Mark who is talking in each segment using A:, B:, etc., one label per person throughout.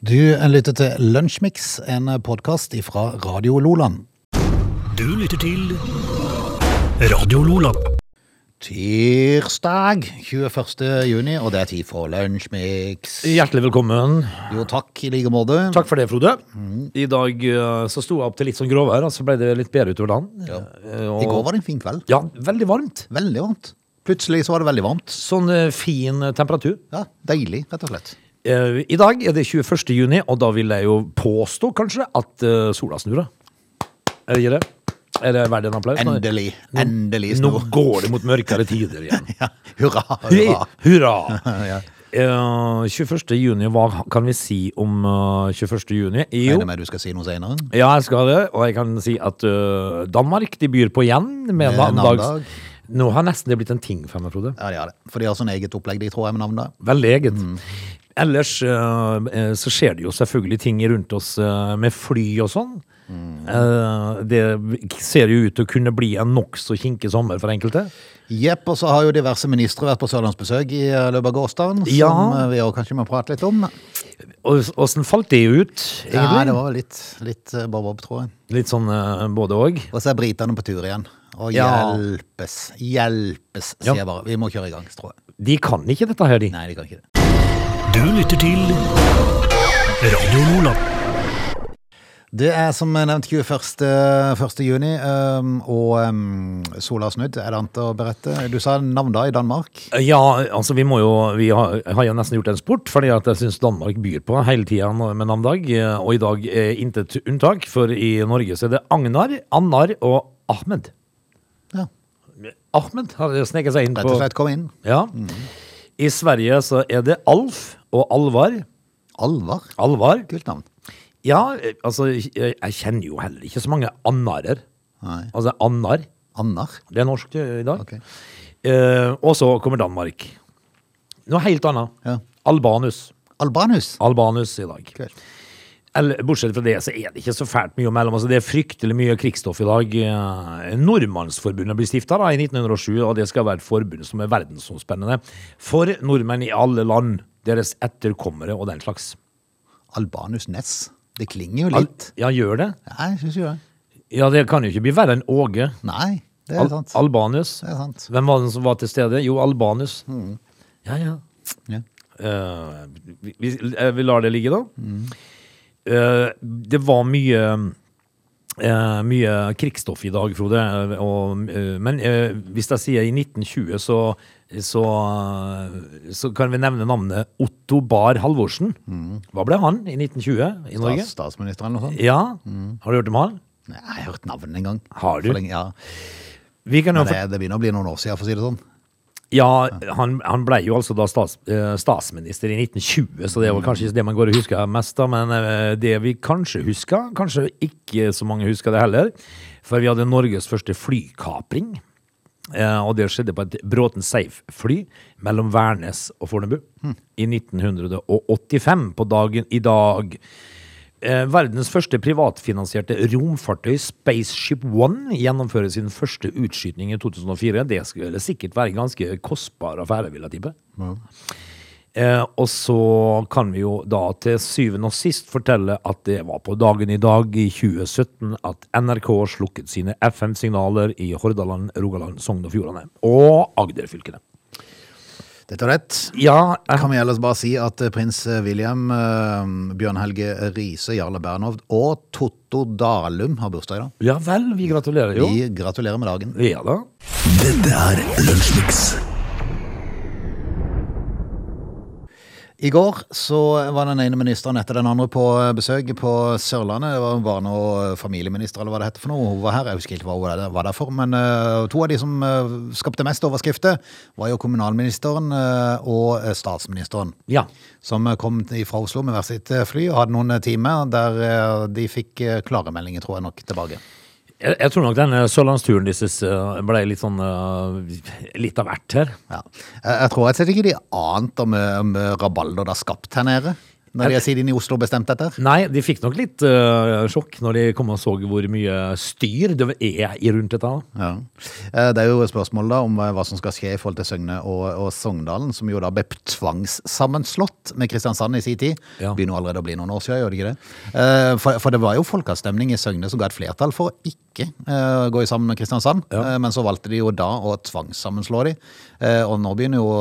A: Du lytter til Lunsjmix, en podkast fra Radio Loland.
B: Du lytter til Radio Lola.
A: Tirsdag 24. juni, og det er tid for Lunsjmix.
B: Hjertelig velkommen.
A: Jo, takk i like måte.
B: Takk for det, Frode. I dag eh, så sto jeg opp til litt sånn gråvær, og så ble det litt bedre utover dagen.
A: Ja.
B: Eh, og-
A: I går var det en fin kveld.
B: Ja, veldig varmt.
A: Veldig varmt. Plutselig så var det veldig varmt.
B: Sånn eh, fin eh, temperatur.
A: Ja, Deilig, rett og slett.
B: Eh, I dag er det 21. juni, og da vil jeg jo påstå kanskje at eh, sola snur. da. Er det ikke det? Er det verdt en applaus?
A: Endelig. Endelig
B: Nå
A: snor.
B: går det mot mørkere tider igjen.
A: Ja, hurra,
B: Hurra!
A: hurra. Ja.
B: Eh, 21. juni, hva kan vi si om eh, 21. juni? Jo,
A: Regner med du skal si noe senere.
B: Ja, jeg skal det, og jeg kan si at ø, Danmark de byr på igjen med
A: Med
B: navndags...
A: navndag.
B: Nå har nesten det blitt en ting for meg, Frode.
A: Ja, de har det. For de har sånn eget opplegg, de, tror jeg, med navnet.
B: Veldig eget.
A: Mm.
B: Ellers ø, ø, så skjer det jo selvfølgelig ting rundt oss ø, med fly og sånn.
A: Mm.
B: Eh, det ser jo ut til å kunne bli en nokså kinkig sommer for enkelte.
A: Jepp, og så har jo diverse ministre vært på sørlandsbesøk i eh, løpet av gårsdagen, som
B: Ja.
A: eh, vi også kanskje må prate litt om.
B: Og- Åssen falt det ut,
A: Ja, det
B: egentlig?
A: var vel litt, litt eh, bob-bob, tror jeg.
B: Litt sånn ø, både òg.
A: Og så er britene på tur igjen. Og
B: Ja.
A: hjelpes, hjelpes,
B: Ja.
A: sier jeg bare. Vi må kjøre i gang, tror jeg.
B: De kan ikke dette her, de.
A: Nei, de kan ikke det.
C: Du lytter til Radio Lola.
A: Det er som nevnt 21. 1. juni, øhm, og øhm, sola har snudd, er det annet å berette? Du sa navndag i Danmark.
B: Ja, altså vi må jo Vi har, har jo nesten gjort en sport, fordi at jeg syns Danmark byr på hele tida med navndag. eh, Og i dag er intet unntak, for i Norge så er det Agnar, Annar og Ahmed.
A: Ja,
B: Ahmed har sneket seg inn
A: rett og
B: på
A: slett Mm. kom inn.
B: Ja. I Sverige så er det Alf og Alvar.
A: Alvar.
B: Alvar.
A: Kult navn.
B: Ja, eh, altså jeg jeg kjenner jo heller ikke så mange annarer.
A: Nei.
B: Altså Annar.
A: Annar.
B: Det er norsk eh, i dag.
A: Ok.
B: Eh, og så kommer Danmark. Noe helt annet.
A: Ja.
B: Albanus.
A: Albanus.
B: Albanus i dag.
A: Kult.
B: Eller, bortsett fra det, så er det ikke så fælt mye mellom. Altså, det er fryktelig mye krigsstoff i dag. Eh, Nordmannsforbundet blir stifta i 1907, og det skal være et forbund som er verdensomspennende for nordmenn i alle land, deres etterkommere og den slags.
A: Albanus Ness. Det klinger jo
B: Al-
A: litt.
B: Ja, gjør det?
A: Nei, jeg synes jo det.
B: Ja, det kan jo ikke bli verre enn Åge.
A: Nei, det er
B: Al
A: sant.
B: Albanus.
A: Det er sant. Mm.
B: Hvem var den som var til stede? Jo, Albanus. Ja, ja.
A: Ja.
B: Eh, vi- vi, eh, vi lar det ligge, da. Eh, det var mye eh, mye krigsstoff i dag, Frode. eh, Og, eh, men eh, hvis jeg sier i 1920, så, så, eh, så kan vi nevne navnet Otto Bahr Halvorsen. Hva ble han i 1920 i Norge?
A: Stats- Statsminister eller noe sånt.
B: Ja, Har du hørt om han?
A: Nei, Jeg har hørt navnet en gang.
B: Har du?
A: For Lenge, ja.
B: Vi kan jo
A: Men det, det begynner å bli noen år siden, for å si det sånn.
B: Ja, han, han ble jo altså da stats, eh, statsminister i 1920, så det var kanskje ikke det man går og husker mest av, men eh, det vi kanskje husker, kanskje ikke så mange husker det heller, for vi hadde Norges første flykapring, eh, og det skjedde på et Bråten Safe-fly mellom Værnes og Fornebu i 1985 på dagen i dag. Eh, Verdens første privatfinansierte romfartøy, Spaceship One, gjennomfører sin første utskytning i 2004. Det skulle sikkert være en ganske kostbar affære, vil jeg tippe. Eh, og så kan vi jo da til syvende og sist fortelle at det var på dagen i dag i 2017 at NRK slukket sine FM-signaler i Hordaland, Rogaland, Sogn og Fjordane og Agder-fylkene.
A: Dette er rett.
B: Ja, eh,
A: Kan vi ellers bare si at eh, prins eh, William, eh, Bjørn Helge Riise, Jarle Bernhovd og Totto Dalum har bursdag i dag.
B: ja vel, vi gratulerer jo.
A: Vi gratulerer med dagen.
B: Ja da.
C: Dette er Lunsjmix.
A: I går så var den ene ministeren etter den andre på eh, besøk på Sørlandet. Det var barne- og familieminister, eller hva det heter for noe. Hun var her, jeg husker ikke hva hun var der for. Men eh, to av de som eh, skapte mest overskrifter, var jo kommunalministeren eh, og eh, statsministeren.
B: Ja.
A: som eh, kom fra Oslo med hvert sitt eh, fly og hadde noen timer der eh, de fikk eh, klare meldinger, tror jeg nok, tilbake.
B: Jeg, jeg tror nok denne sørlandsturen deres eh, ble litt sånn eh, Litt av hvert her.
A: Ja. Jeg jeg tror rett og slett ikke de ante om, eh, om eh, rabalder det har skapt her nede. Når de er siden i Oslo bestemt dette? her?
B: Nei, de fikk nok litt eh, sjokk når de kom og så hvor mye styr det er i rundt dette. da.
A: Ja. Eh, Det er jo et spørsmål da om eh, hva som skal skje i forhold til Søgne og, og Sogndalen, som jo da ble tvangssammenslått med Kristiansand i sin tid.
B: Ja.
A: Begynner jo allerede å bli noen år siden, gjør det ikke det? Eh, For, for det var jo folkeavstemning i Søgne som ga et flertall for å ikke eh, gå sammen med Kristiansand,
B: Ja.
A: Eh, men så valgte de jo da å tvangssammenslå de. Eh, Og nå begynner, jo,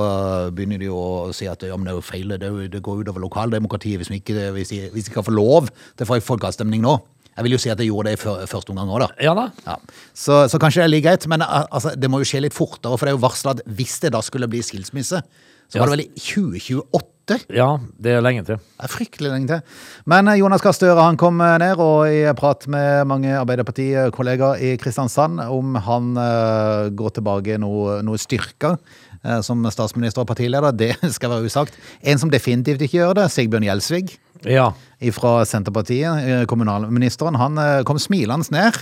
A: begynner de jo å si at ja, men det er jo feil, det, er jo- det går utover lokaldemokratiet hvis vi ikke hvis de, hvis de ikke får lov til å få en folkeavstemning nå. Jeg vil jo si at de gjorde det i fø- første omgang òg, da.
B: Ja da.
A: Ja. Så, så kanskje det er like greit, men eh, altså, det må jo skje litt fortere, for det er jo varsla at hvis det da skulle bli skilsmisse, så var det vel i 2028?
B: Ja, det er lenge til.
A: Det er fryktelig lenge til. Men eh, Jonas Gahr Støre han kom eh, ned, og i prat med mange Arbeiderparti-kollegaer i Kristiansand om han eh, går tilbake noe, noe styrka eh, som statsminister og partileder, det skal være usagt. En som definitivt ikke gjør det, Sigbjørn Gjelsvig
B: Ja.
A: fra Senterpartiet, eh, kommunalministeren, han eh, kom smilende ned.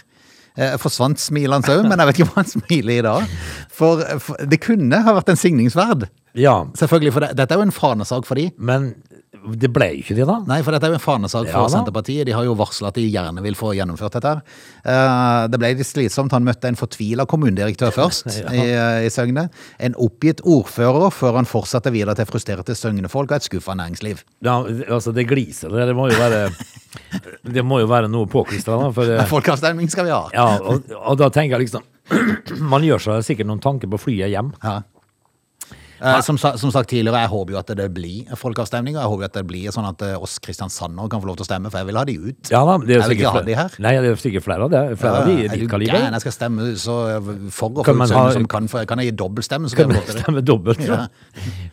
A: Eh, Forsvant smilende òg, men jeg vet ikke om han smiler i dag. For, for det kunne ha vært en signingsverd.
B: ja.
A: Selvfølgelig, for det, dette er jo en fanesak for de.
B: Men det ble jo ikke det, da.
A: Nei, for dette er jo en fanesak for
B: Ja da.
A: Senterpartiet. De har jo varsla at de gjerne vil få gjennomført dette. her. Eh, Det ble litt slitsomt. Han møtte en fortvila kommunedirektør først i, eh, i Søgne. En oppgitt ordfører før han fortsatte videre til frustrerte søgnefolk og et skuffa næringsliv.
B: Ja, altså, det gliser der. Det må jo være, det må jo være noe påklistra, da. For, eh,
A: Folkeavstemning skal vi ha.
B: ja, og, og da tenker jeg liksom Man gjør seg sikkert noen tanker på flyet hjem.
A: Ja. Eh, som, sa- som sagt tidligere, jeg håper jo at det blir folkeavstemning. Og jeg håper jo at det blir sånn at eh, oss kristiansandinger kan få lov til å stemme, for jeg vil ha de ut.
B: Ja da, det er jo
A: Jeg vil ikke
B: sikkert
A: ha de
B: flere-
A: her. Eh,
B: Nei, det er sikkert flere av det. Flere av de i
A: er
B: ditt
A: du
B: kaliber.
A: gæren? Jeg skal stemme så eh, for og
B: Kan
A: for
B: man
A: ut
B: ha-
A: sønner som kan, for, kan jeg gi dobbeltstemme, så kan jeg få lov til det.
B: Stemme dobbelt. Ja.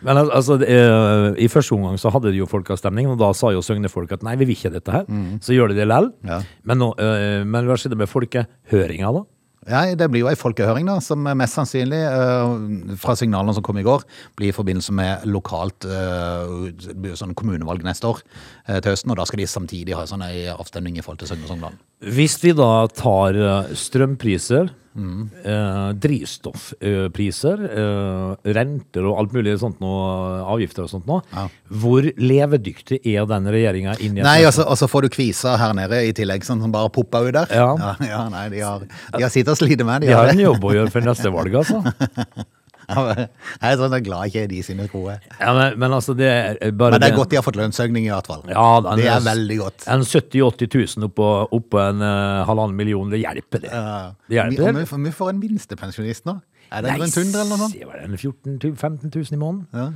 B: Men al- altså, det, eh, I første omgang så hadde de jo folkeavstemning, og da sa jo Søgne-folk at nei, vi vil ikke dette her. Så gjør de det lell.
A: Mm. Ja.
B: Men, nå, eh, men hva skjedde med folkehøringa, da?
A: Nei, det blir jo ei folkehøring, da, som mest sannsynlig, eh, fra signalene som kom i går, blir i forbindelse med lokalt eh, det blir jo sånn kommunevalg neste år eh, til høsten. Og da skal de samtidig ha sånn ei avstemning i forhold til Søgne og Sogndalen.
B: Hvis vi da tar eh, strømpriser,
A: Mm.
B: eh, drivstoffpriser, eh, renter og alt mulig sånt noe, avgifter og sånt nå,
A: Ja.
B: hvor levedyktig er den regjeringa inn i et
A: Nei, og så, og så får du kviser her nede i tillegg, sånn som bare popper ut der.
B: Ja.
A: ja, ja, nei, de har, de har sittet og slitt med, de
B: De har
A: har
B: en
A: det.
B: jobb å gjøre for neste valg, altså.
A: Jeg er sånn glad ikke er de sine gode.
B: Ja, men, men altså, det er bare
A: Men det er godt de har fått lønnsøkning i hvert fall.
B: Ja, den
A: det er veldig godt.
B: En 70 000-80 000 oppå, oppå en eh, halvannen million, det hjelper det. det
A: Vi, og
B: hjelper.
A: vi, for vi får en minstepensjonist nå. Er det
B: Nei,
A: rundt 100 eller noe sånt?
B: se hva det er, en 14 000-15 000 i måneden,
A: Ja.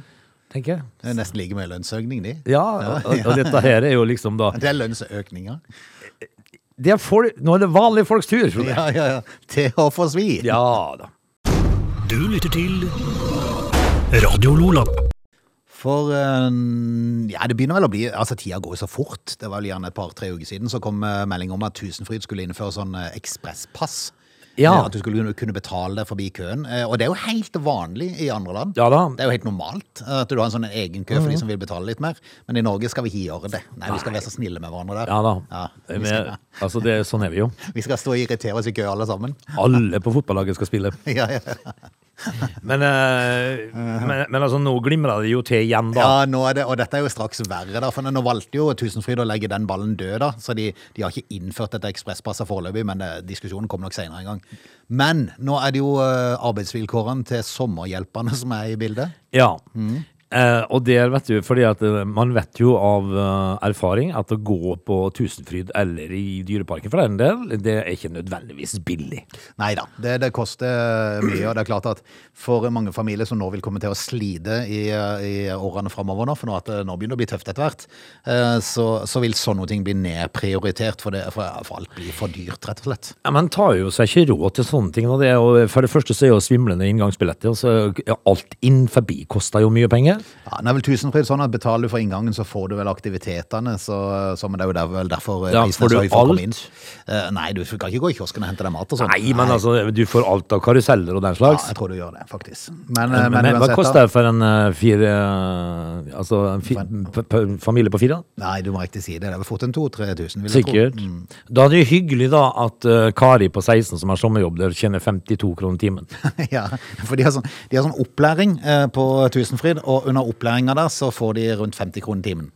B: tenker jeg.
A: Det er nesten like mye lønnsøkning, de.
B: Ja, og, og dette her er jo liksom da
A: Det er lønnsøkninger.
B: det er folk, Nå er det vanlige folks tur! Frode.
A: Ja, ja, ja. Til å få svi.
B: Ja da.
C: Du lytter til Radio Lola.
A: For eh, ja, det begynner vel å bli Altså, tida går jo så fort. Det var vel gjerne et par-tre uker siden så kom eh, melding om at Tusenfryd skulle innføre sånn eh, ekspresspass.
B: Ja.
A: Eh, At du skulle kunne- kunne betale deg forbi køen. Eh, Og det er jo helt vanlig i andre land.
B: Ja da. Mhm.
A: Det er jo helt normalt eh, at du har en sånn egen kø for de som vil betale litt mer. Men i Norge skal vi ikke gjøre det. Nei, vi skal være så snille med hverandre der.
B: Ja da.
A: vi,
B: Men,
A: skal,
B: altså, det, sånn er vi jo.
A: vi skal stå og irritere oss i kø alle sammen.
B: Alle på fotballaget skal spille.
A: Ja, ja.
B: Men, eh, men, men altså, nå glimrer det jo til igjen, da.
A: Ja, nå er det, og dette er jo straks verre, da, for nå valgte jo Tusenfryd å legge den ballen død, da, så de, de har ikke innført dette ekspresspasset foreløpig, men eh, diskusjonen kommer nok senere en gang. Men nå er det jo eh, arbeidsvilkårene til sommerhjelperne som er i bildet.
B: Ja. Eh, og der vet du, fordi at eh, man vet jo av eh, erfaring at å gå på Tusenfryd eller i Dyreparken for den del, det er ikke nødvendigvis billig.
A: Nei da, det, det koster eh, mye, og det er klart at for mange familier som nå vil komme til å slide i, eh, i årene framover, nå, for nå, at det, nå begynner det å bli tøft etter hvert, eh, så, så vil sånne ting bli nedprioritert, for, det, for, for alt blir for dyrt, rett og slett.
B: Ja, Man tar jo seg ikke råd til sånne ting. Og det er jo, for det første så er jo svimlende inngangsbilletter, og så er alt inn forbi koster jo mye penger.
A: Ja, det er vel Tusenfryd sånn at betaler du for inngangen, så får du vel aktivitetene. Så, så men det er jo der, vel derfor eh,
B: Ja,
A: prisen er
B: får du
A: så høy for å komme
B: alt?
A: inn. Eh, nei, du kan ikke gå i kiosken og hente deg mat og sånn.
B: Nei, men altså, du får alt av karuseller og den
A: ja,
B: slags.
A: Jeg tror du gjør det, faktisk. Men, eh,
B: men,
A: men,
B: hva
A: uansett,
B: koster
A: da.
B: det for en eh, fire eh, Altså en fi, p p familie på fire? da?
A: Nei, du må riktig si det. Det er vel fort en 2000-3000, vil jeg
B: Sikkert.
A: tro.
B: Da er det jo hyggelig da at eh, Kari på 16 som har sommerjobb der, tjener 52 kroner timen.
A: ja, for de har sånn, de har sånn opplæring eh, på Tusenfryd, og under opplæringa der så får de rundt 50 kroner timen.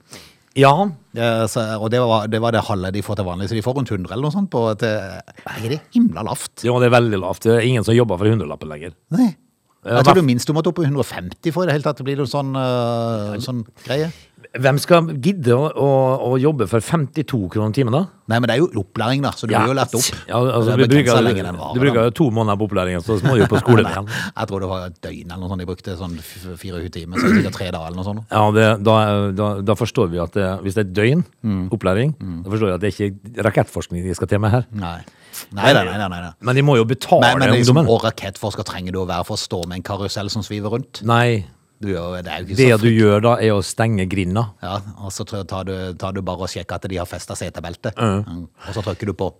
B: Ja,
A: Eh, Så, og det var, det var det halve de får til vanlig, så de får rundt 100 eller noe sånt. På et, eh, er det himla lavt?
B: det er veldig lavt. Det er ingen som jobber for hundrelappen lenger.
A: Nei.
B: Ja,
A: Jeg tror du minst du måtte opp på 150 for i det hele tatt. Det blir noe sånn, eh, sånn greie.
B: Hvem skal gidde å, å, å jobbe for 52 kroner timen, da?
A: Nei, men det er jo opplæring, da, så du blir jo lært opp.
B: Ja, altså,
A: Det er begrenset
B: du, bruker,
A: hvor lenge den varer,
B: du bruker jo to måneder på opplæringen, så må du jo på skolen igjen.
A: Jeg tror det var et døgn eller noe sånt de brukte. Sånn f- f- 24 timer, så sikkert tre dager eller noe sånt.
B: Ja, det, da, da, da forstår vi at det, hvis det er et døgn
A: Mm.
B: opplæring, da forstår vi at det er ikke rakettforskning de skal til med her.
A: Nei. Nei, nei, nei. nei, nei.
B: Men de må jo betale
A: Men, men liksom,
B: ungdommen.
A: og rakettforsker trenger du å være for å stå med en karusell som sviver rundt.
B: Nei,
A: Du, gjør jo- det er jo ikke
B: det
A: så
B: du gjør da, er å stenge grinda.
A: Ja, og så tr- tar du, tar du bare og sjekker at de har festa setebeltet. Mm. Og så trykker du på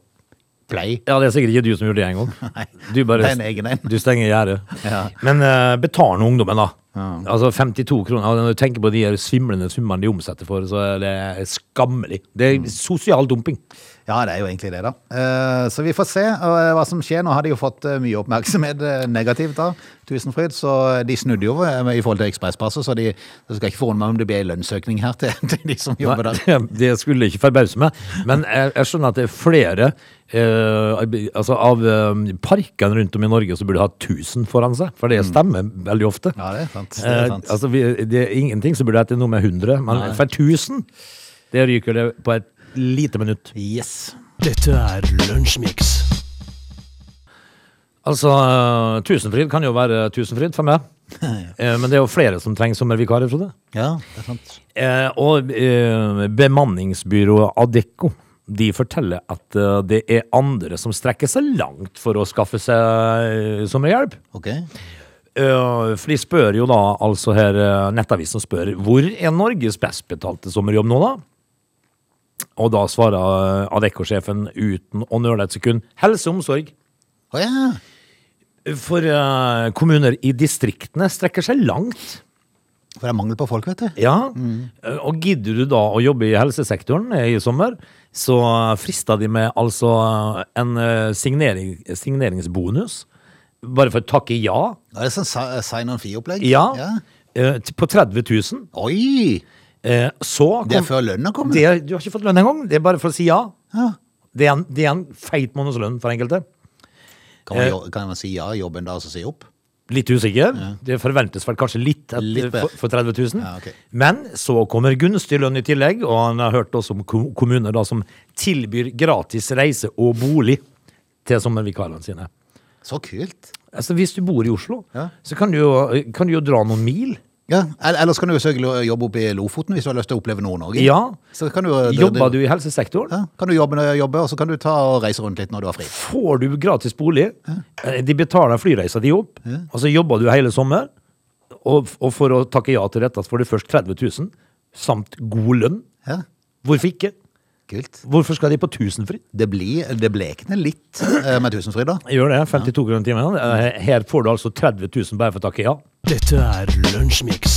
A: play.
B: Ja, det er sikkert ikke du som gjorde det engang.
A: Nei,
B: Du bare
A: det er en egen en.
B: Du stenger gjerdet.
A: Ja.
B: Men uh, betal nå ungdommen, da. Altså 52 kroner. og Når du tenker på de her svimlende summene de omsetter for, så er det skammelig. Det
A: Mm.
B: er sosial dumping.
A: Ja, det er jo egentlig det, da. Eh, Så vi får se eh, hva som skjer. Nå har de jo fått eh, mye oppmerksomhet eh, negativt av Tusenfryd, så de snudde jo eh, i forhold til ekspresspasset, så de det skal ikke forundre meg om det blir en lønnsøkning her til, til de som jobber
B: Nei,
A: der.
B: det, det skulle ikke forbause meg. Men jeg, jeg skjønner at det er flere eh, altså av eh, parkene rundt om i Norge som burde ha 1000 foran seg, for det stemmer veldig ofte.
A: Mm. Ja, det er sant. Det er
B: Eh,
A: sant.
B: altså, vi, det er ingenting som burde hete noe med 100, men for 1000, det ryker det på et lite minutt.
A: Yes.
C: Dette er Lunsjmix.
B: Altså, eh, Tusenfryd kan jo være Tusenfryd for meg, Eh, men det er jo flere som trenger sommervikarer, Frode.
A: Ja, det er sant.
B: Eh, og eh, bemanningsbyrået Adecco de forteller at eh, det er andre som strekker seg langt for å skaffe seg eh, sommerhjelp.
A: Ok.
B: Eh, for de spør jo da, altså her eh, Nettavisen spør hvor er Norges best betalte sommerjobb nå, da? Og da svarer eh, Adecco-sjefen uten å nøle et sekund helse og omsorg.
A: Å ja.
B: For eh, kommuner i distriktene strekker seg langt.
A: For det er mangel på folk, vet du.
B: Ja,
A: Mm.
B: eh, og gidder du da å jobbe i helsesektoren i sommer, så frister de med altså en eh, signering, signeringsbonus, bare for å takke ja,
A: Er det sånn si- sign on fee-opplegg?
B: ja, eh, til- på 30 000.
A: Oi!
B: Eh, Så kom,
A: Det er før lønna kommer.
B: Det, du har ikke fått lønn engang, det er bare for å si ja.
A: Ja.
B: Det er en, det er en feit månedslønn for enkelte.
A: Kan, man,
B: Eh.
A: jo- kan man si ja i jobben da, og så si opp?
B: Litt usikker. Det forventes vel kanskje litt, at,
A: Litt bedre.
B: for, for 30 000.
A: Ja, ok.
B: Men så kommer gunstig lønn i tillegg, og han har hørt også om ko- kommuner da, som tilbyr gratis reise og bolig til sommervikarene sine.
A: Så kult!
B: Altså, hvis du bor i Oslo,
A: Ja.
B: så kan du, jo, kan du jo dra noen mil.
A: Ja, el- Ellers kan du jo søke lo- jobb oppe i Lofoten hvis du har lyst til å oppleve Nord-Norge.
B: Ja.
A: Så kan du, eh,
B: Jobber du i helsesektoren,
A: Ja, kan du jobbe, når jeg jobber, og så kan du ta og reise rundt litt når du har fri.
B: får du gratis bolig. Eh, De betaler flyreisa di opp, og så jobber du hele sommer. Og, og for å takke ja til dette, så får du først 30 000, samt god lønn.
A: Ja,
B: Hvorfor ikke?
A: kult.
B: Hvorfor skal de på tusenfryd?
A: Det, blir, det blekner litt eh, med Tusenfryd, da.
B: Gjør det. 52 kroner timen. Eh, Her får du altså 30 000 bare for å takke ja.
C: Dette er Lunsjmix.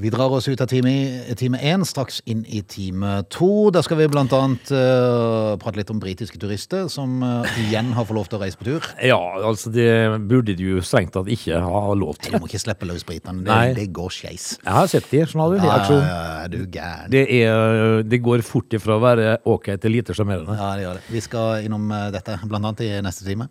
A: Vi drar oss ut av time- time én, straks inn i time to. Der skal vi blant annet eh, prate litt om britiske turister som eh, igjen har fått lov til å reise på tur.
B: Ja, altså det burde de jo strengt tatt ikke ha lov
A: Nei,
B: til.
A: Du må ikke slippe løs britene. Det,
B: Nei.
A: det går skeis.
B: Jeg har sett de, sånn har du, i aksjon.
A: Ja, er du gæren.
B: Det, er, det går fort ifra å være ok til lite sjarmerende.
A: Ja, det gjør det. Vi skal innom eh, dette blant annet i neste time.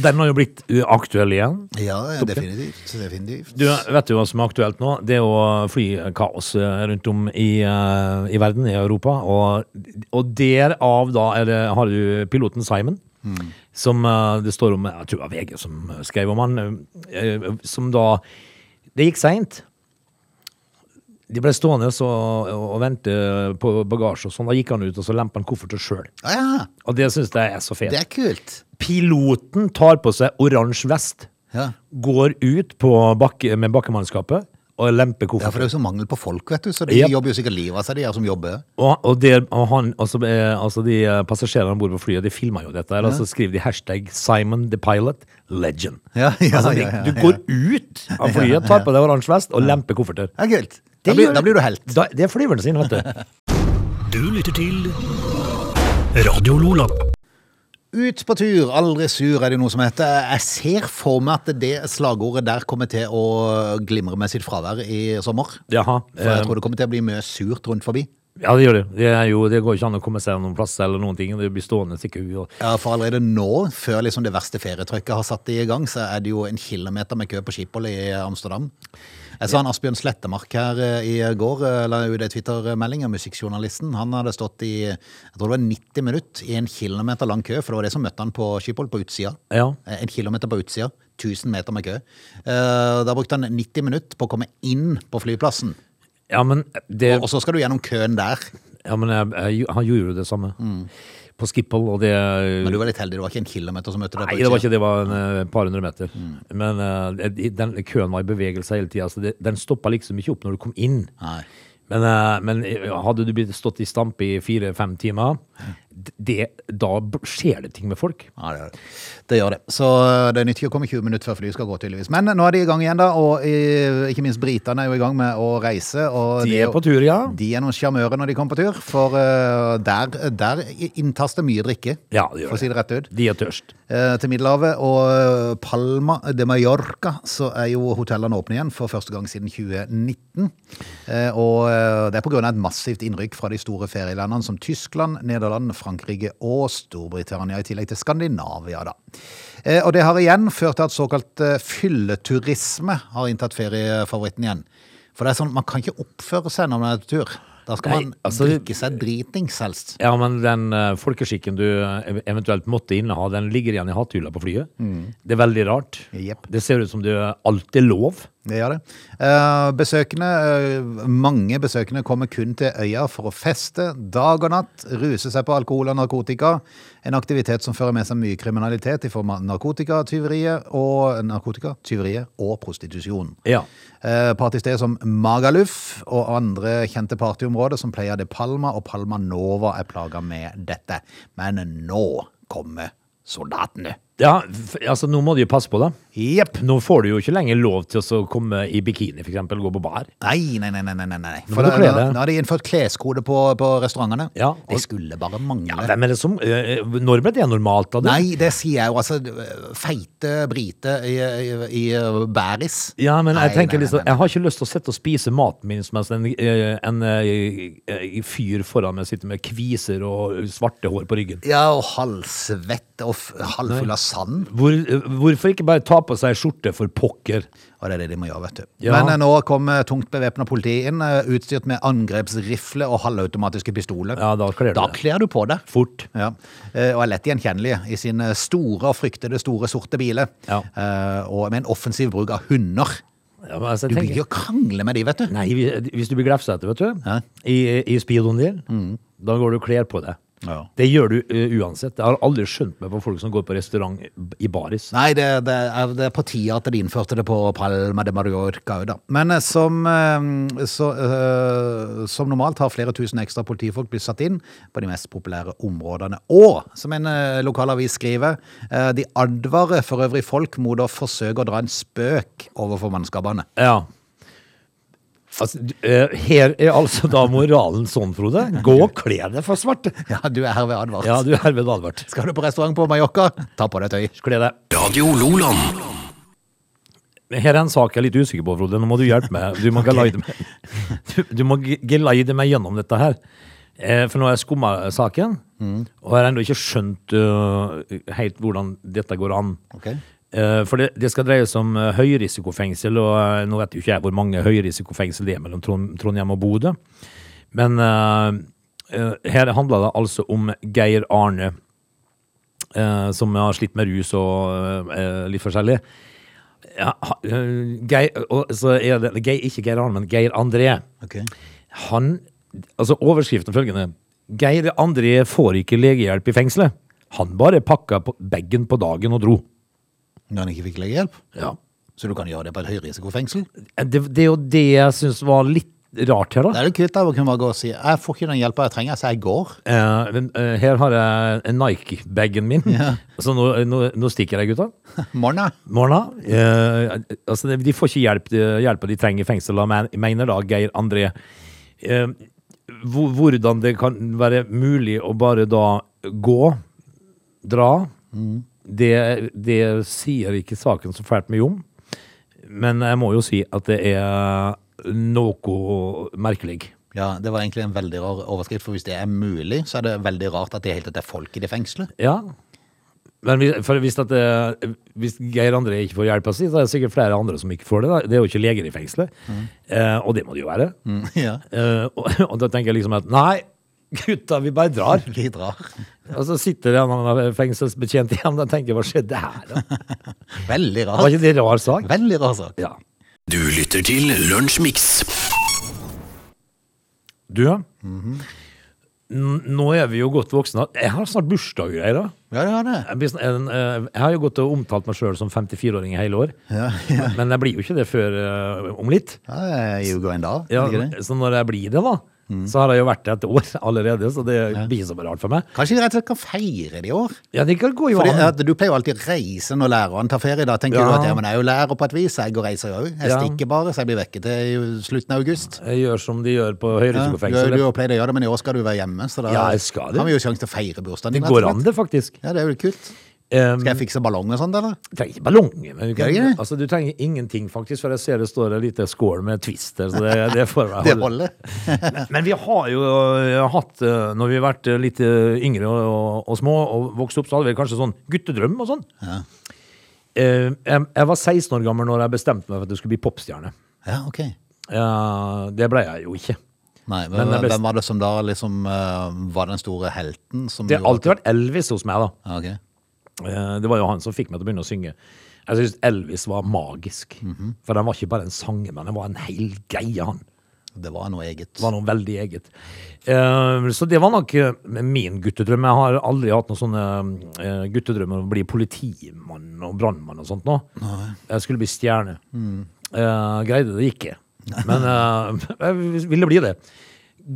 B: den har jo blitt eh, aktuell igjen.
A: Ja, ja, definitivt. definitivt.
B: Du, vet du hva som er aktuelt nå? Det er jo flykaos eh, rundt om i, eh, i verden, i Europa. Og, og derav da er det, har du piloten Simon,
A: Mm.
B: som eh, det står om Jeg tror det var VG som skrev om han, eh, eh, som da Det gikk seint. De ble stående så, og vente på bagasje og sånn. Da gikk han ut og så lempa han kofferten sjøl.
A: Ah, ja,
B: Og det syns jeg er så
A: det
B: fett.
A: er kult.
B: Piloten tar på seg oransje vest
A: Ja.
B: går ut på bakke, med bakkemannskapet og lempe
A: Ja, for
B: kofferten.
A: det er jo så mangel på folk, vet du. Så de
B: Yep.
A: jobber jo sikkert livet av seg, de her som jobber.
B: Og, og, der, og han, altså, eh, altså de eh, passasjerene om bord på flyet, de filma jo dette. her, Og så skriver de hashtag 'Simon the Pilot Legend'.
A: Ja, ja,
B: altså, de,
A: ja, ja,
B: du
A: ja.
B: går ut av flyet, tar på deg oransje vest og lemper kofferter.
A: Ja, kult.
B: Det
A: Da blir,
B: gjør-
A: da blir du helt.
B: Da, det er flyveren sin, vet du.
C: Du lytter til Radio Lola.
A: Ut på tur, aldri sur er det noe som heter. Jeg ser for meg at det slagordet der kommer til å glimre med sitt fravær i sommer.
B: Jaha.
A: For
B: eh,
A: jeg tror det kommer til å bli mye surt rundt forbi.
B: Ja, det gjør det. Det, er jo, det går ikke an å komme seg noen plass eller noen ting. Det blir stående til ku. Og...
A: Ja, For allerede nå, før liksom det verste ferietrykket har satt i gang, så er det jo en kilometer med kø på Schiphol i Amsterdam. Jeg så han Asbjørn Slettemark her eh, i går, eh, la ut ei Twitter-melding av musikkjournalisten. Han hadde stått i jeg tror det var 90 minutter i en kilometer lang kø, for det var det som møtte han på Schiphol, på utsida.
B: Ja.
A: Eh, En kilometer på utsida, 1000 meter med kø. Eh, Da brukte han 90 minutter på å komme inn på flyplassen.
B: Ja, men, det,
A: Og og så skal du gjennom køen der.
B: ja, men jeg, jeg, han gjorde jo det samme
A: Mm.
B: på Skippol, og det eh,
A: Men du var litt heldig, det var ikke en kilometer som møtte deg
B: Mm.
A: på
B: Nei, det var
A: utsida.
B: ikke det. Det var en eh, par hundre meter. Men eh, de- den køen var i bevegelse hele tida, så det, den stoppa liksom ikke opp når du kom inn.
A: Nei.
B: Men, eh, men eh, hadde du blitt stått i stampe i fire-fem timer, d- det, da b- skjer det ting med folk.
A: Ja, det, gjør det. det gjør det. Så eh, det nytter ikke å komme 20 minutter før flyet skal gå, tydeligvis. Men eh, nå er de i gang igjen, da. Og eh, ikke minst britene er jo i gang med å reise. Og
B: De
A: det
B: er på tur, ja.
A: De er noen sjarmører når de kommer på tur, for eh, der, der inntas det mye drikke.
B: Ja, det
A: for
B: gjør
A: å si
B: det.
A: det rett ut.
B: De er tørst.
A: Eh, til Middelhavet og eh, Palma de Mallorca så er jo hotellene åpne igjen for første gang siden 2019. Eh, og eh, det er pga. et massivt innrykk fra de store ferielandene som Tyskland, Nederland, Frankrike og Storbritannia, i tillegg til Skandinavia, da. Eh, og det har igjen ført til at såkalt eh, fylleturisme har inntatt feriefavoritten igjen. For det er sånn, man kan ikke oppføre seg når man er på tur. Da skal
B: Nei,
A: man
B: altså-
A: drikke seg dritings helst.
B: Ja, men den eh, folkeskikken du eh, eventuelt måtte inneha, den ligger igjen i hatthylla på flyet. Det er veldig rart.
A: Jepp.
B: Det ser ut som det alt er lov.
A: Det gjør det. Eh, besøkende, eh, mange besøkende kommer kun til øya for å feste dag og natt, ruse seg på alkohol og narkotika. En aktivitet som fører med seg mye kriminalitet i form av narkotikatyverier og, narkotika, tyverier og prostitusjon.
B: Ja.
A: Eh, Partysteder som Magaluf og andre kjente partyområder som Playa de Palma og Palma Nova er plaga med dette. Men nå kommer soldatene.
B: ja f altså, nå må du jo passe på det.
A: Jepp.
B: Nå får du jo ikke lenger lov til å så komme i bikini, for eksempel, og gå på bar.
A: Nei, nei, nei, nei, nei, nei, nei.
B: Nå
A: For
B: må
A: da,
B: du kle
A: da,
B: deg.
A: da har de innført kleskode på, på restaurantene.
B: Ja,
A: det
B: og-
A: skulle bare mangle.
B: Hvem er det som eh, Når ble det normalt? da? du?
A: nei, det sier jeg jo. Altså, feite briter i, i, i bæris.
B: Ja, men jeg
A: Nei, nei,
B: tenker
A: nei,
B: liksom,
A: nei.
B: jeg har ikke lyst til å sitte og spise maten min mens en, eh, en eh, eh, fyr foran meg sitter med kviser og eh, svarte hår på ryggen.
A: Ja, og halvsvett og f- halvfull av sand.
B: Hvor, eh, hvorfor ikke bare ta på seg skjorte for pokker?
A: Og det er det de må gjøre, vet du.
B: Ja.
A: Men eh, nå kom eh, tungt bevæpna politi inn, eh, utstyrt med angrepsrifle og halvautomatiske pistoler.
B: Ja, da kler du
A: Da
B: deg.
A: kler du på deg.
B: Fort.
A: Ja, eh, og er lett gjenkjennelige i sine store og fryktede store sorte biler.
B: Ja.
A: Eh, Og med en offensiv bruk av hunder.
B: Ja, men altså,
A: Du
B: jeg
A: vil
B: tenker,
A: ikke krangle med de, vet du.
B: nei, vi- hvis du blir glefsa etter, vet du,
A: Ja.
B: i, i speedoen din, da går du og kler på deg.
A: Ja.
B: Det gjør du eh, uansett. Jeg har aldri skjønt meg på folk som går på restaurant i baris.
A: Nei, det, det, er, det er på tide at de innførte det på Palma de Mallorca. Da. Men eh, som, eh, så, eh, som normalt har flere tusen ekstra politifolk blitt satt inn på de mest populære områdene. Og, som en eh, lokalavis skriver, eh, de advarer for øvrig folk mot å forsøke å dra en spøk overfor mannskapene.
B: Ja. Altså, du, eh, her er altså da moralen sånn, Frode. Gå og kle deg for svart.
A: Ja, du er herved advart.
B: Ja, du er herved advart.
A: Skal du på restaurant på Mallorca, ta på deg tøy.
B: Kle deg. Her er en sak jeg er litt usikker på, Frode. Nå må du hjelpe meg. Du må geleide meg, du, du må ge- geleide meg gjennom dette her. Eh, for nå har jeg skumma saken, og jeg har ennå ikke skjønt eh, helt hvordan dette går an.
A: Ok.
B: Eh, for det, det skal dreie seg om eh, høyrisikofengsel, og eh, nå vet jo ikke jeg hvor mange høyrisikofengsel det er mellom Trond, Trondheim og Bodø. Men eh, eh, her handler det altså om Geir Arne, eh, som har slitt med rus og eh, litt forskjellig. Ja, ha- eh, Geir, og så er det, Geir, ikke Geir Arne, men Geir André.
A: Ok.
B: Han, altså overskriften er følgende. Geir André får ikke legehjelp i fengselet. Han bare pakka på baggen på dagen og dro.
A: Når han ikke fikk legehjelp,
B: Ja.
A: Så du kan gjøre det på et høyrisikofengsel.
B: Eh, Det, det er jo det jeg syns var litt rart her,
A: Da
B: da.
A: er det kult da, å kunne bare gå og si 'jeg får ikke den hjelpa jeg trenger, så jeg går'.
B: Eh, men, eh, her har jeg Nike-bagen min, så nå, nå, nå stikker jeg, gutta.
A: Morna.
B: Morna. Eh, altså, de får ikke hjelp, eh, hjelp de trenger i fengsel, da, men- mener da Geir André. Eh, hvor- hvordan det kan være mulig å bare da gå, dra, det, det sier ikke saken så fælt mye om. Men jeg må jo si at det er noe merkelig.
A: Ja, det var egentlig en veldig rar overskrift, for hvis det er mulig, så er det veldig rart at det helt er folk i det fengselet.
B: Ja. Men hvis, for hvis, at, det- hvis Geir André ikke får hjelpa si, så er det sikkert flere andre som ikke får det. Da. Det er jo ikke leger i fengselet,
A: Mm.
B: eh, og det må det jo være.
A: ja.
B: Eh, og, og da tenker jeg liksom at nei, gutta, vi bare drar.
A: Vi drar.
B: Og så sitter det en annen fengselsbetjent igjen og tenker hva skjedde her, da?
A: Veldig
B: Var
A: rar.
B: ikke det rar sak?
A: Veldig rar sak.
B: Ja.
C: Du lytter til Lunsjmix.
B: Du, ja.
A: Mhm.
B: N- Nå er vi jo godt voksne. Jeg har snart bursdag og greier, da.
A: Ja, det var det.
B: Jeg, blir sånn- en, eh, jeg har jo gått og omtalt meg sjøl som 54-åring i hele år.
A: Ja, ja.
B: Men jeg blir jo ikke det før eh, om litt.
A: Ja, det er jo gå en dag,
B: Ja,
A: ikke det? Mm.
B: så når jeg blir det, da, så har jeg jo vært det et år allerede, så det blir så rart for meg.
A: Kanskje de rett og slett kan feire det i år?
B: Ja, det kan gå jo
A: Fordi,
B: an.
A: at du pleier jo alltid reise når læreren tar ferie. Da tenker
B: Ja.
A: du at ja, men jeg er jo lærer på et vis, jeg går og reiser jo. Jeg
B: Ja.
A: stikker bare, så jeg blir vekke til i slutten av august.
B: Jeg gjør som de gjør på
A: Ja, du, du
B: høyrisikofengselet.
A: har pleid å gjøre det, men i år skal du være hjemme, så da
B: Ja, jeg skal det.
A: har vi jo sjanse til å feire bursdagen
B: Det
A: din.
B: går
A: rett og
B: an,
A: slett.
B: det, faktisk.
A: Ja, det er jo kult.
B: Um,
A: Skal jeg fikse ballong og sånt, eller?
B: trenger ikke ballong. Men du,
A: Gjør ikke
B: kan,
A: det?
B: altså, du trenger ingenting, faktisk, for jeg ser det står en liten skål med Twister. Så det, det får jeg
A: Det holder.
B: holde. Men- Men vi har jo øh, hatt, øh, når vi har vært øh, litt øh, yngre og, og, og små og vokst opp, så hadde vi kanskje sånn guttedrøm og sånn. Eh, jeg, jeg var 16 år gammel når jeg bestemte meg for at jeg skulle bli popstjerne.
A: Ja, ok.
B: Eh, det ble jeg jo ikke.
A: Nei,
B: Men
A: hvem,
B: det er best-
A: hvem var det som da liksom eh, var den store helten? Som
B: Det har
A: gjorde
B: alltid vært Elvis hos meg, da.
A: at- Ja, ok.
B: Eh, Det var jo han som fikk meg til å begynne å synge. Altså, Jeg syns Elvis var magisk.
A: Mhm.
B: For han var ikke bare en sanger, men han var en hel greie, han.
A: Det var noe eget.
B: Det var noe veldig eget. Eh, Så det var nok eh, min guttedrøm. Jeg har aldri hatt noen sånne eh, guttedrømmer om å bli politimann og brannmann og sånt nå. Jeg skulle bli stjerne.
A: Mm.
B: Eh, Greide det ikke. Men eh, jeg ville bli det.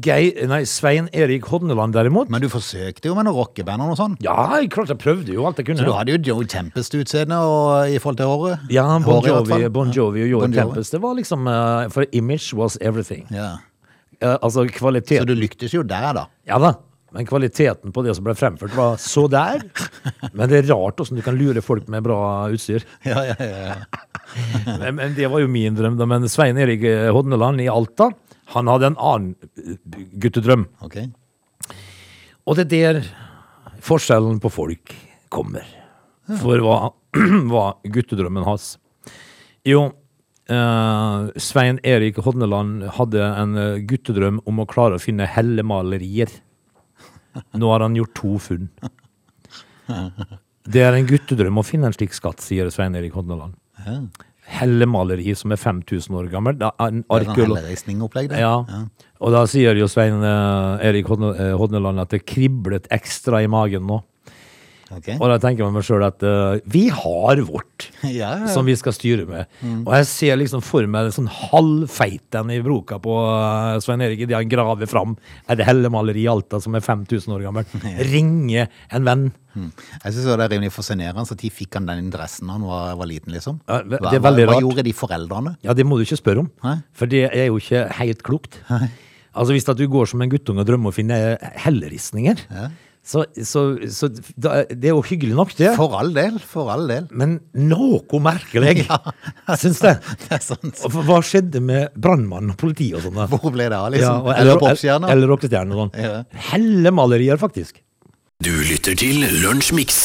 B: Geir, nei, Svein Erik Hodneland derimot
A: Men du forsøkte jo med noen rockeband og noe sånt.
B: Ja, klart jeg prøvde jo alt jeg kunne.
A: Du hadde jo Joe Tempest-utseende og- i forhold til håret.
B: Ja, Bon
A: Håret i hvert
B: Jovi,
A: fall.
B: bon Jovi og Joe
A: Bon Jovi.
B: Tempest. Det var liksom eh, For image was everything.
A: Ja.
B: Eh, altså kvalitet
A: Så du lyktes jo der, da.
B: Ja da. Men kvaliteten på det som ble fremført, var så der. Men det er rart åssen du kan lure folk med bra utstyr.
A: Ja, ja, ja.
B: Men, men det var jo min drøm. da. Men Svein Erik eh, Hodneland i Alta, han hadde en annen eh, guttedrøm.
A: Ok.
B: Og det er der forskjellen på folk kommer. For hva var guttedrømmen hans? Jo, eh, Svein Erik Hodneland hadde en eh, guttedrøm om å klare å finne hellemalerier. Nå har han gjort to funn. Det er en guttedrøm å finne en slik skatt, sier Svein Erik Hodneland. Hellemaleri som er 5000 år gammel. Det er
A: Det
B: en
A: er sånn
B: arkeolog...
A: helleristningopplegg, det.
B: Ja. Og da sier jo Svein eh, Erik Hodne- eh, Hodneland at det kriblet ekstra i magen nå.
A: Ok.
B: Og da tenker jeg meg sjøl at eh, vi har vårt,
A: Ja, Mm. ja.
B: som vi skal styre med. Og jeg ser liksom for meg sånn halvfeiten i broka på eh, Svein Erik idet han graver fram et hellemaleri i Alta som er 5000 år gammelt. Ringe en venn.
A: Mm. Jeg synes også det er rimelig fascinerende at de fikk han den interessen da han var, var liten, liksom.
B: Ja, det- det er
A: Hva-
B: veldig
A: hva,
B: rart.
A: hva gjorde de foreldrene?
B: Ja, det må du ikke spørre om.
A: Nei.
B: For det er jo ikke helt klokt. Altså Hvis at du går som en guttunge og drømmer om å finne helleristninger, så, så, så da, det er jo hyggelig nok, det.
A: For all del, for all del.
B: Men noe merkelig, syns jeg.
A: Det er sant.
B: Og for Hva skjedde med brannmannen og politiet og sånn? da?
A: Hvor ble det av,
B: Ja,
A: liksom?
B: og-
A: eller popstjerna?
B: Eller rockestjerner og
A: Ja.
B: sånn. Hellemalerier, faktisk.
C: Du lytter til Lunsjmix.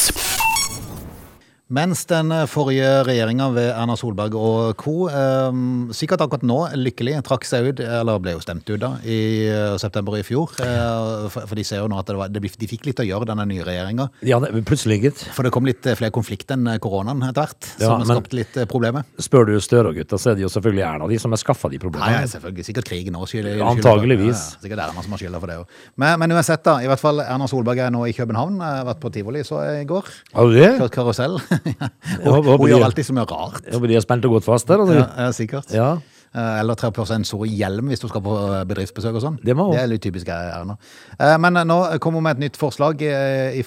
A: Mens den forrige regjeringa ved Erna Solberg og co. Eh, sikkert akkurat nå lykkelig trakk seg ut, eller ble jo stemt ut da, i eh, september i fjor. Eh, for, for de ser jo nå at det var, det, blir- de fikk litt å gjøre, denne nye regjeringa.
B: Ja, det- plutselig, gitt.
A: For det kom litt eh, flere konflikter enn eh, koronaen etter hvert,
B: Ja,
A: som har
B: men-
A: skapt litt eh, problemer.
B: Spør du Støre og gutta, så er det jo selvfølgelig Erna de som har skaffa de
A: Nei,
B: problemene.
A: selvfølgelig. Sikkert krigen òg skylder skylder-
B: Antageligvis.
A: Ja, ja. Sikkert Erna som har skylda for det òg. Men, men uansett, da. I hvert fall Erna Solberg er nå i København. Jeg har vært på tivoli så i går.
B: Har du det?
A: Kjørt karusell.
B: håper-
A: Hun,
B: håper
A: hun
B: de-
A: gjør alltid så mye rart.
B: Jeg håper de har spent og gått fast der.
A: Ja,
B: Altså.
A: ja, sikkert.
B: Ja.
A: Eh, Eller tre på seg en stor hjelm hvis du skal på eh, bedriftsbesøk og sånn.
B: Det må hun.
A: er litt typisk eh, Erna. Eh, Men eh, nå kommer hun med et nytt forslag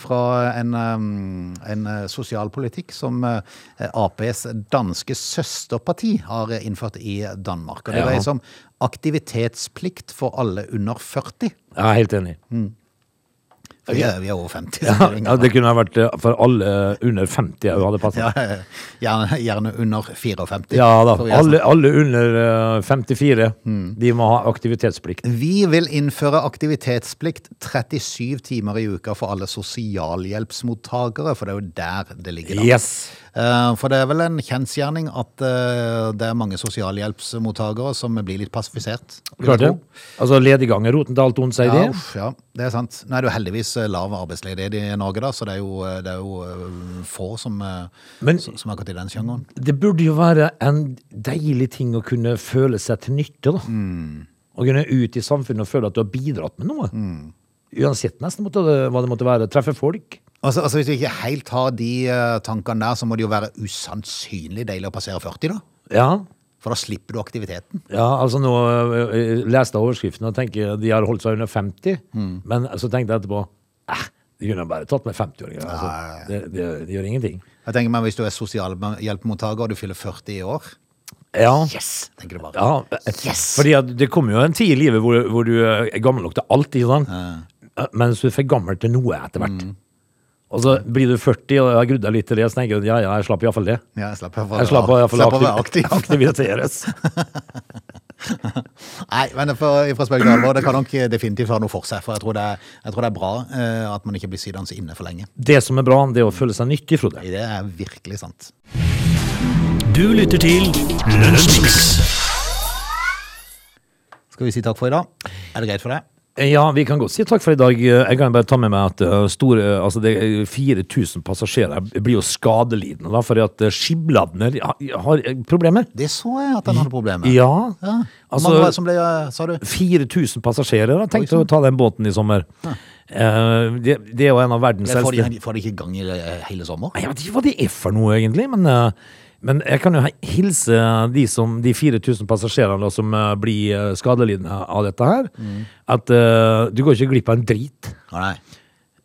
A: fra en, eh, en eh, sosialpolitikk som eh, Aps danske søsterparti har eh, innført i Danmark. Og det
B: Ja.
A: dreier seg om aktivitetsplikt for alle under 40.
B: Jeg er helt enig.
A: For vi er, vi er over 50. så det er
B: Ja,
A: ingen-
B: det kunne ha vært eh, for alle eh, under 50 jeg hadde passet.
A: Ja, eh, gjerne, gjerne under 54.
B: Ja da.
A: for vi er
B: Alle, alle under eh, 54,
A: Mm.
B: de må ha aktivitetsplikt.
A: Vi vil innføre aktivitetsplikt 37 timer i uka for alle sosialhjelpsmottakere, for det er jo der det ligger. da.
B: Yes.
A: Eh, For det er vel en kjensgjerning at eh, det er mange sosialhjelpsmottakere som blir litt passifisert. vil jeg
B: Klart det.
A: tro.
B: Altså, lediggang er roten til alt ondt, sier
A: Ja,
B: de.
A: uff, ja, det er sant. Nå er det jo heldigvis eh, lav arbeidsledighet i Norge, da, så det er jo, eh, det er jo eh, få som, eh,
B: Men-
A: som som har gått i den sjangeren.
B: Det burde jo være en deilig ting å kunne føle seg til nytte, da.
A: Mm.
B: Å kunne ut i samfunnet og føle at du har bidratt med noe.
A: Mm.
B: Uansett nesten måtte det, hva det måtte være. Treffe folk.
A: Altså, altså Hvis vi ikke helt har de eh, tankene der, så må det jo være usannsynlig deilig å passere 40, da.
B: Ja.
A: For da slipper du aktiviteten.
B: Ja, altså nå ø, ø, leste jeg overskriften og tenker de har holdt seg under 50,
A: Mm.
B: men så tenkte jeg etterpå eh, de kunne bare tatt med 50-åringer. Altså. Det, det, det gjør ingenting.
A: Jeg tenker meg Hvis du er sosialhjelpemottaker og du fyller 40 i år
B: Ja.
A: Yes! tenker du bare.
B: ja.
A: Yes!
B: Fordi at det kom jo en tid i livet hvor, hvor du ø, er gammel nok til alt, ikke sant? Eh, mens du er for gammel til noe etter hvert.
A: Mm.
B: Og så blir du 40, og jeg har grudd deg litt til det, så tenker jeg ja, ja, jeg slapp iallfall det.
A: Ja, jeg slapp av
B: Jeg slapp av iallfall
A: slapp av å være aktiv.
B: aktiviteres.
A: Nei, men for, fra spøk til alvor, det kan nok definitivt ha noe for seg. For jeg tror det er, jeg tror det er bra eh, at man ikke blir sittende inne for lenge.
B: Det som er bra, det er å føle seg nyttig, Frode.
A: Det er virkelig sant.
C: Du lytter til Lunsjmix.
A: Skal vi si takk for i dag? Er det greit for deg?
B: Ja, vi kan godt si takk for i dag. Jeg kan bare ta med meg at eh, store, altså det er 4000 passasjerer blir jo skadelidende da, fordi at eh, skibladner har, har eh, problemer.
A: Det så jeg at han hadde problemer med.
B: Ja,
A: ja. Hvor mange
B: altså
A: var det som sånn. ble, eh, sa du?
B: 4000 passasjerer har tenkt å ta den båten i sommer. Eh, det, det er jo en av verdens
A: Det får
B: eldste.
A: de, får de ikke gang i eh, hele sommer?
B: Jeg vet ikke hva det er for noe egentlig, men, eh, men jeg kan jo he- hilse de, som, de 4000 passasjerene da, som eh, blir eh, skadelidende av dette her,
A: Mm.
B: at eh, du går ikke glipp av en drit.
A: Nei.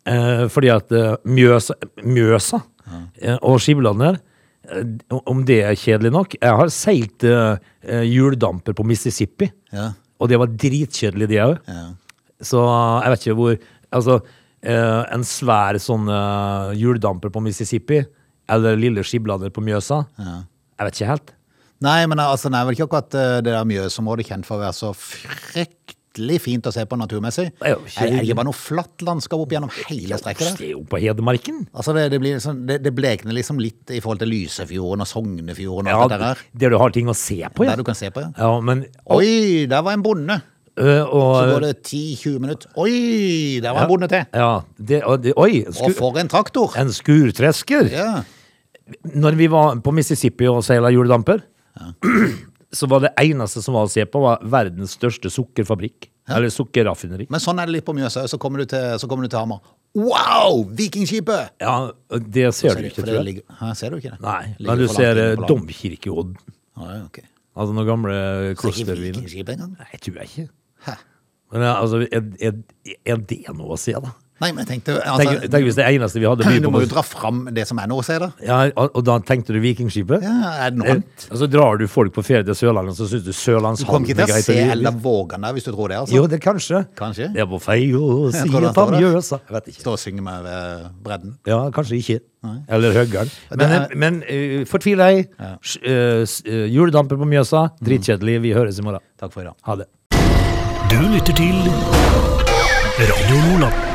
B: Eh, fordi at eh, Mjøsa, Mjøsa eh, og Skibladner eh, Om det er kjedelig nok Jeg har seilt eh, eh, hjuldamper på Mississippi,
A: Ja.
B: og det var dritkjedelig, det òg.
A: Ja.
B: Så eh, jeg vet ikke hvor Altså, eh, en svær sånn eh, hjuldamper på Mississippi, eller lille Skibladner på Mjøsa Jeg vet ikke helt.
A: Nei, men altså, nei, vel ikke akkurat eh, det der Mjøsområdet er kjent for å være så fryktelig fint å se på naturmessig.
B: er
A: Er,
B: jo ikke-
A: er det ikke bare noe flatt landskap opp gjennom hele strekket der?
B: Det er jo på Hedmarken.
A: Altså, det, det, blir liksom, det, det blekner liksom litt i forhold til Lysefjorden og Sognefjorden og
B: Ja,
A: alt det der.
B: der du har ting å se på, ja.
A: Der du kan se på, ja.
B: ja men,
A: Oi, der var en bonde.
B: øh,
A: Så
B: og,
A: går det 10-20 minutter. Oi, der var en bonde til.
B: ja, det, og det, Oi!
A: Og
B: sku-
A: for en traktor.
B: En skurtresker.
A: Ja.
B: Når vi var på Mississippi og seila hjuldamper, så var det eneste som var å se på, var verdens største sukkerfabrikk. Eller sukkerraffineri.
A: Men sånn er det litt på Mjøsa. Så kommer du til, så kommer du til Hamar. Wow, vikingskipet!
B: Ja, det ser du ikke,
A: For
B: tror
A: det
B: jeg.
A: ligger- Hæ, ser du ikke det?
B: Nei,
A: Ligger
B: men du
A: for langt
B: ser
A: inne
B: eh,
A: på land.
B: domkirkeodden.
A: Ah, ja, ok.
B: Altså noen gamle
A: Så ikke
B: klosterviner.
A: vikingskipet engang?
B: Nei, tror jeg ikke.
A: Hæ?
B: Men eh, altså, er, er, er det noe å se, da?
A: Nei, men jeg tenkte altså,
B: Tenk, tenk hvis det eneste vi hadde by
A: Du
B: på
A: må jo dra fram det som er nå, se da.
B: ja, og, og da tenkte du Vikingskipet?
A: Ja, er det noe
B: Eh,
A: annet?
B: Og så drar du folk på ferie til Sørlandet, så syns du
A: Du kommer
B: Sørlandshallen
A: ikke til å
B: greit å
A: se
B: drive i.
A: Ella Vågan der, hvis du tror det, altså.
B: Jo, det kanskje.
A: Kanskje.
B: Det er på feil
A: Jeg tror
B: side
A: det
B: av
A: står der.
B: Mjøsa. Jeg vet ikke.
A: Stå og synge med ved bredden.
B: Ja, kanskje ikke. Eller Høggarn. Men,
A: Det er-
B: men eh, fortvil deg. Sj- eh, s- eh, Juledamper på Mjøsa. Dritkjedelig. Vi høres i morgen.
A: Takk for i dag.
B: Ha det.
C: Du lytter til Radio Nordland.